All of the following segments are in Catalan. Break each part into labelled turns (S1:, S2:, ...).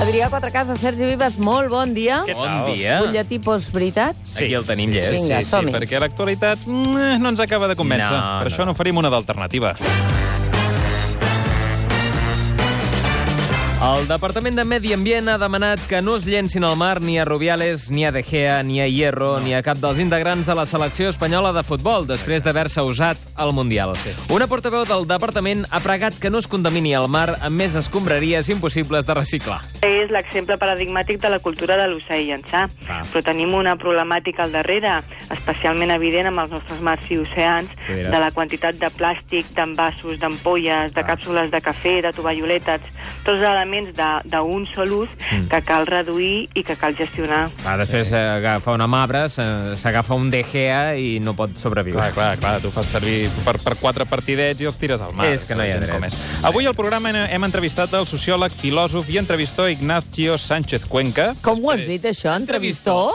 S1: Adrià Quatrecases, Sergi Vives, molt bon dia.
S2: Què
S3: Bon
S2: tal?
S3: dia.
S1: Butlletí postveritat.
S3: Sí, Aquí el tenim llest.
S1: Vinga,
S2: sí, sí,
S1: som-hi.
S2: perquè l'actualitat mm, no ens acaba de convèncer.
S3: No,
S2: per
S3: no.
S2: això n'oferim una d'alternativa.
S3: El Departament de Medi Ambient ha demanat que no es llencin al mar ni a Rubiales, ni a De Gea, ni a Hierro, ni a cap dels integrants de la selecció espanyola de futbol després d'haver-se usat al Mundial. Una portaveu del departament ha pregat que no es contamini el mar amb més escombraries impossibles de reciclar.
S4: És l'exemple paradigmàtic de la cultura de l'oceà i llançar.
S3: Ah.
S4: Però tenim una problemàtica al darrere, especialment evident amb els nostres mars i oceans,
S3: Mira.
S4: de la quantitat de plàstic, d'envasos, d'ampolles, de càpsules de cafè, de tovalloletes, tots elements de- d'un sol ús que cal reduir i que cal gestionar.
S3: Va, després sí. agafa una mabra, se- s'agafa un De Gea i no pot sobreviure.
S2: Clar, clar, clar, tu fas servir per, per quatre partidets i els tires al mar.
S3: És que no hi ha
S2: Gent
S3: dret.
S2: com és. Avui al programa hem- hem entrevistat el sociòleg, filòsof i entrevistor Ignacio Sánchez Cuenca.
S1: Com ho has dit, això? Entrevistó?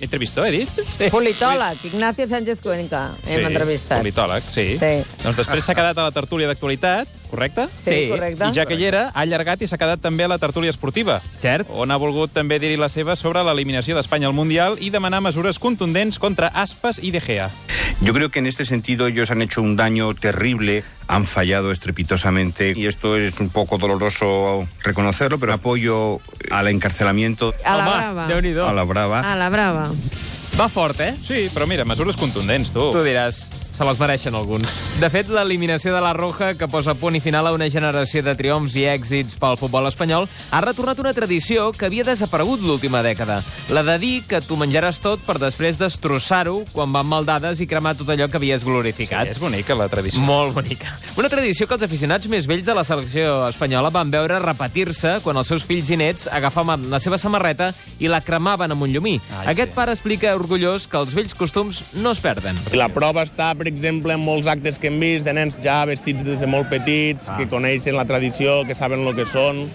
S2: Entrevistor, he dit? Sí.
S1: Politòleg, Ignacio Sánchez Cuenca. Hem entrevistat.
S2: Politòleg, sí.
S1: Sí.
S2: Doncs després s'ha quedat a la tertúlia d'actualitat, correcte?
S1: Sí,
S3: Sí,
S1: correcte.
S2: I ja que hi era, ha allargat i s'ha quedat també a la tertúlia esportiva.
S3: Cert.
S2: On ha volgut també dir-hi la seva sobre l'eliminació d'Espanya al Mundial i demanar mesures contundents contra Aspas i De Gea.
S5: Yo creo que en este sentido ellos han hecho un daño terrible, han fallado estrepitosamente y esto es un poco doloroso reconocerlo, pero apoyo al encarcelamiento
S6: A la
S3: Home,
S6: brava.
S3: Déu-n'hi-do.
S5: a la brava.
S6: A la brava.
S3: Va fort, eh?
S2: Sí, però mira, mesures contundents, tu.
S3: Tu diràs, se les mereixen alguns. De fet, l'eliminació de la Roja, que posa punt i final a una generació de triomfs i èxits pel futbol espanyol, ha retornat una tradició que havia desaparegut l'última dècada. La de dir que tu menjaràs tot per després destrossar-ho quan van mal dades i cremar tot allò que havies
S2: Sí,
S3: glorificat.
S2: és bonica la tradició.
S3: Molt bonica. Una tradició que els aficionats més vells de la selecció espanyola van veure repetir-se quan els seus fills i nets agafaven la seva samarreta i la cremaven amb un llumí.
S2: Ai,
S3: Aquest
S2: sí.
S3: pare explica orgullós que els vells costums no es perden.
S7: La prova està, per exemple, en molts actes que hem vist de nens ja vestits des de molt petits, ah. que coneixen la tradició, que saben el que són,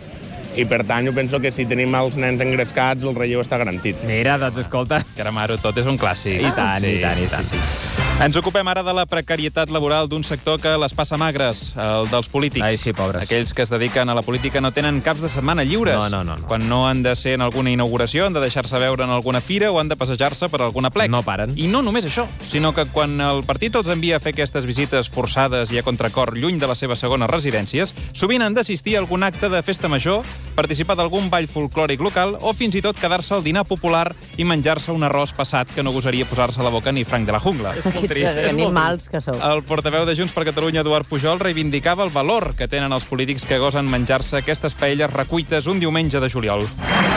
S7: i per tant jo penso que si tenim els nens engrescats el relleu està garantit.
S3: Mira, doncs escolta...
S2: Cremar-ho tot és un clàssic.
S3: I tant,
S2: sí,
S3: i tant,
S2: sí,
S3: i tant.
S2: Sí, sí. Ens ocupem ara de la precarietat laboral d'un sector que les passa magres, el dels polítics.
S3: Ai, sí, pobres.
S2: Aquells que es dediquen a la política no tenen caps de setmana lliures.
S3: No, no, no, no.
S2: Quan no han de ser en alguna inauguració, han de deixar-se veure en alguna fira o han de passejar-se per alguna plec.
S3: No paren.
S2: I no només això, sinó que quan el partit els envia a fer aquestes visites forçades i a contracor lluny de les seves segones residències, sovint han d'assistir a algun acte de festa major, participar d'algun ball folclòric local o fins i tot quedar-se al dinar popular i menjar-se un arròs passat que no gosaria posar-se a la boca ni Frank de la Jungla.
S1: Quins
S2: eh?
S1: animals que sou.
S2: El portaveu de Junts per Catalunya, Eduard Pujol, reivindicava el valor que tenen els polítics que gosen menjar-se aquestes paelles recuites un diumenge de juliol.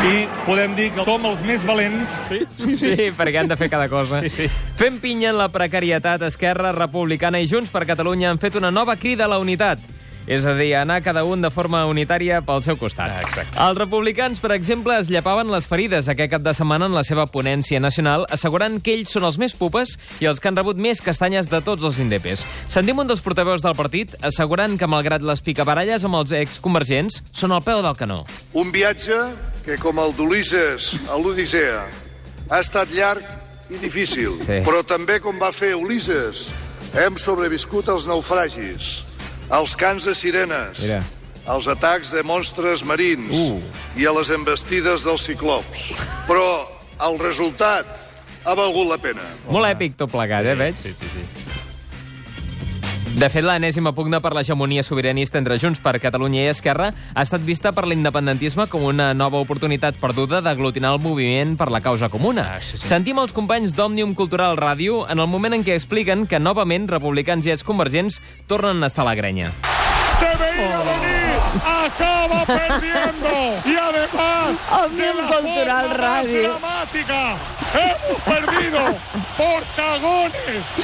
S8: i podem dir que som els més valents
S3: Sí, sí, perquè han de fer cada cosa. Sí, sí. Fent pinya en la precarietat, Esquerra Republicana i Junts per Catalunya han fet una nova crida a la unitat. És a dir, anar cada un de forma unitària pel seu costat.
S2: Exacte.
S3: Els republicans, per exemple, es llapaven les ferides aquest cap de setmana en la seva ponència nacional, assegurant que ells són els més pupes i els que han rebut més castanyes de tots els indepes. Sentim un dels portaveus del partit assegurant que, malgrat les picabaralles amb els exconvergents, són al peu del canó.
S9: Un viatge que, com el d'Ulisses a l'Odissea, ha estat llarg i difícil.
S3: Sí.
S9: Sí. Però també, com va fer Ulisses, hem sobreviscut als naufragis, als cants de sirenes,
S3: Mira.
S9: als atacs de monstres marins
S3: Uh.
S9: i a les embestides dels ciclops. Però el resultat ha valgut la pena.
S3: Molt èpic tot plegat, eh, veig?
S2: Sí, sí, sí.
S3: De fet, l'enèsima pugna per l'hegemonia sobiranista entre Junts per Catalunya i Esquerra ha estat vista per l'independentisme com una nova oportunitat perduda d'aglutinar el moviment per la causa comuna.
S2: Ah, sí, sí.
S3: Sentim els companys d'Òmnium Cultural Ràdio en el moment en què expliquen que, novament, republicans i exconvergents tornen a estar a la grenya.
S8: se veía venir, acaba
S3: Ah.
S8: perdiendo y además de
S1: Òmnium
S8: la
S1: Cultural
S8: forma
S1: Radio.
S8: más dramática hemos perdido Pues por cagones,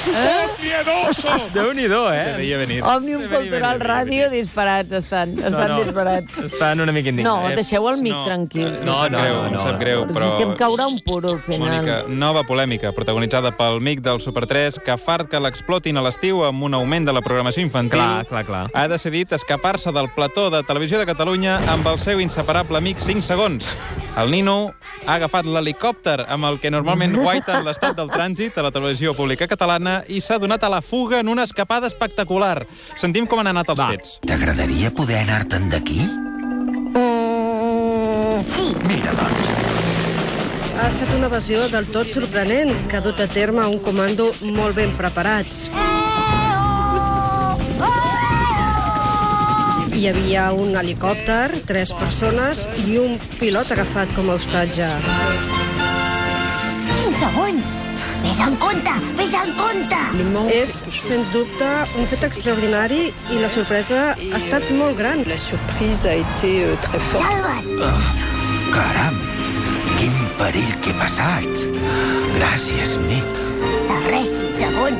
S8: por miedosos.
S3: Déu-n'hi-do, eh?
S2: Se veia venir.
S1: Òmnium Cultural Ràdio, disparats estan, estan disparats.
S3: Estan una mica indignats.
S1: No,
S2: Eh,
S1: deixeu el mic
S2: No, eh,
S1: tranquil.
S2: No,
S3: eh?
S2: no,
S3: No, no,
S2: no, greu,
S3: no,
S2: em
S3: no,
S2: sap
S3: no.
S2: greu,
S1: Però
S2: però...
S1: si és que em caurà un puro al final.
S2: Mònica, nova polèmica, protagonitzada pel mic del Super 3, que fart que l'explotin a l'estiu amb un augment de la programació infantil,
S3: Clar, clar, clar.
S2: ha decidit escapar-se del plató de Televisió de Catalunya amb el seu inseparable amic 5 segons. El Nino ha agafat l'helicòpter amb el que normalment guaita l'estat del trànsit a la televisió pública catalana i s'ha donat a la fuga en una escapada espectacular. Sentim com han anat els
S3: Va.
S2: fets.
S10: T'agradaria poder anar-te'n d'aquí?
S11: Mm,
S6: Mira, doncs.
S10: Ha estat una evasió del tot sorprenent, que ha dut a terme un comando molt ben preparats. Hi havia un helicòpter, tres persones i un pilot agafat com a hostatge.
S11: 5 segons! Ves amb compte! Ves amb compte!
S10: És, sens dubte, un fet extraordinari i la sorpresa ha estat molt gran. La sorpresa ha estat euh, très
S11: Salva't!
S6: Ah, caram, quin perill que he passat. Gràcies, Nick.
S11: De res, 5 segons!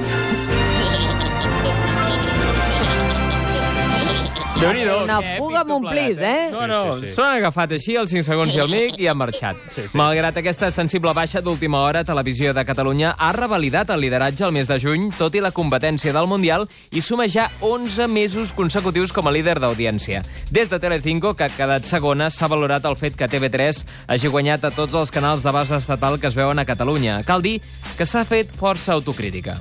S3: déu nhi
S1: Una fuga amb un plis, eh?
S3: No, no, s'han agafat així els 5 segons i el mic i han marxat. Malgrat aquesta sensible baixa d'última hora, Televisió de Catalunya ha revalidat el lideratge el mes de juny, tot i la competència del Mundial, i suma ja 11 mesos consecutius com a líder d'audiència. Des de Telecinco, que ha quedat segona, s'ha valorat el fet que TV3 hagi guanyat a tots els canals de base estatal que es veuen a Catalunya. Cal dir que s'ha fet força autocrítica.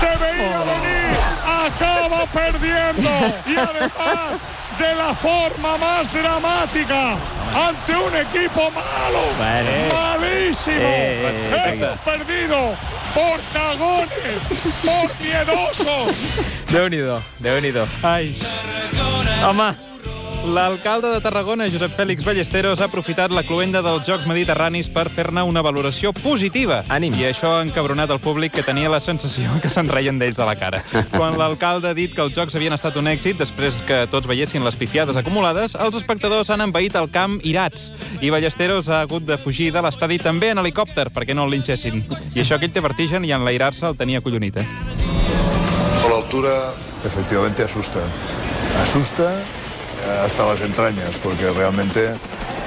S8: Se veía venir, acaba perdiendo y además de la forma más dramática ante un equipo malo,
S3: Bueno.
S8: malísimo.
S3: Eh, eh,
S8: Hemos perdido por cagones, por miedosos.
S3: Déu-n'hi-do, déu nhi déu
S2: Ai,
S3: Home,
S2: L'alcalde de Tarragona, Josep Fèlix Ballesteros, ha aprofitat la cluenda dels Jocs Mediterranis per fer-ne una valoració positiva.
S3: Ànim.
S2: I això ha encabronat el públic que tenia la sensació que se'n reien d'ells a la cara. Quan l'alcalde ha dit que els Jocs havien estat un èxit, després que tots veiessin les pifiades acumulades, els espectadors han envaït el camp irats. I Ballesteros ha hagut de fugir de l'estadi també en helicòpter, perquè no el linxessin. I això que ell té vertigen i enlairar-se el tenia collonit, eh?
S9: La altura efectivamente asusta. Asusta eh, hasta las entrañas, porque realmente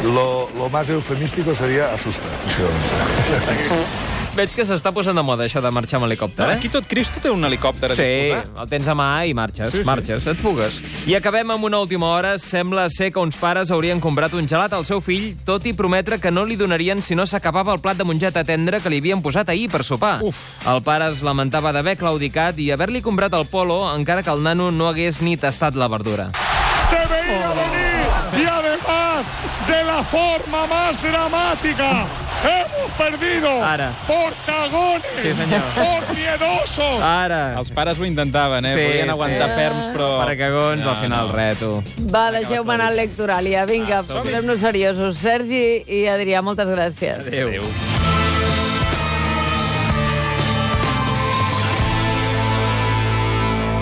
S9: lo, lo más eufemístico sería asusta. efectivamente.
S3: veig que s'està posant de moda això de marxar amb helicòpter, eh?
S2: Aquí tot Cristo té un helicòpter a
S3: Sí,
S2: disposar.
S3: el tens a mà i marxes, sí, sí. marxes, et fugues. I acabem amb una última hora. Sembla ser que uns pares haurien comprat un gelat al seu fill, tot i prometre que no li donarien si no s'acabava el plat de mongeta tendra que li havien posat ahir per sopar. Uf. El pare es lamentava d'haver claudicat i haver-li comprat el polo, encara que el nano no hagués ni tastat la verdura.
S8: Se veía venir y además de la forma más dramática. Hemos perdido
S3: Ara.
S8: por cagones,
S3: Sí, señor.
S8: por miedosos.
S3: Ara,
S2: Els pares ho intentaven, eh?
S3: Sí,
S2: Podien aguantar
S3: sí.
S2: ferms, però...
S3: pare cagons, al final reto.
S1: Va, deixeu-me anar al lectoral, ja. Vinga,
S2: som-hi.
S1: posem-nos seriosos. Sergi i Adrià, moltes gràcies.
S3: Adéu. Adéu.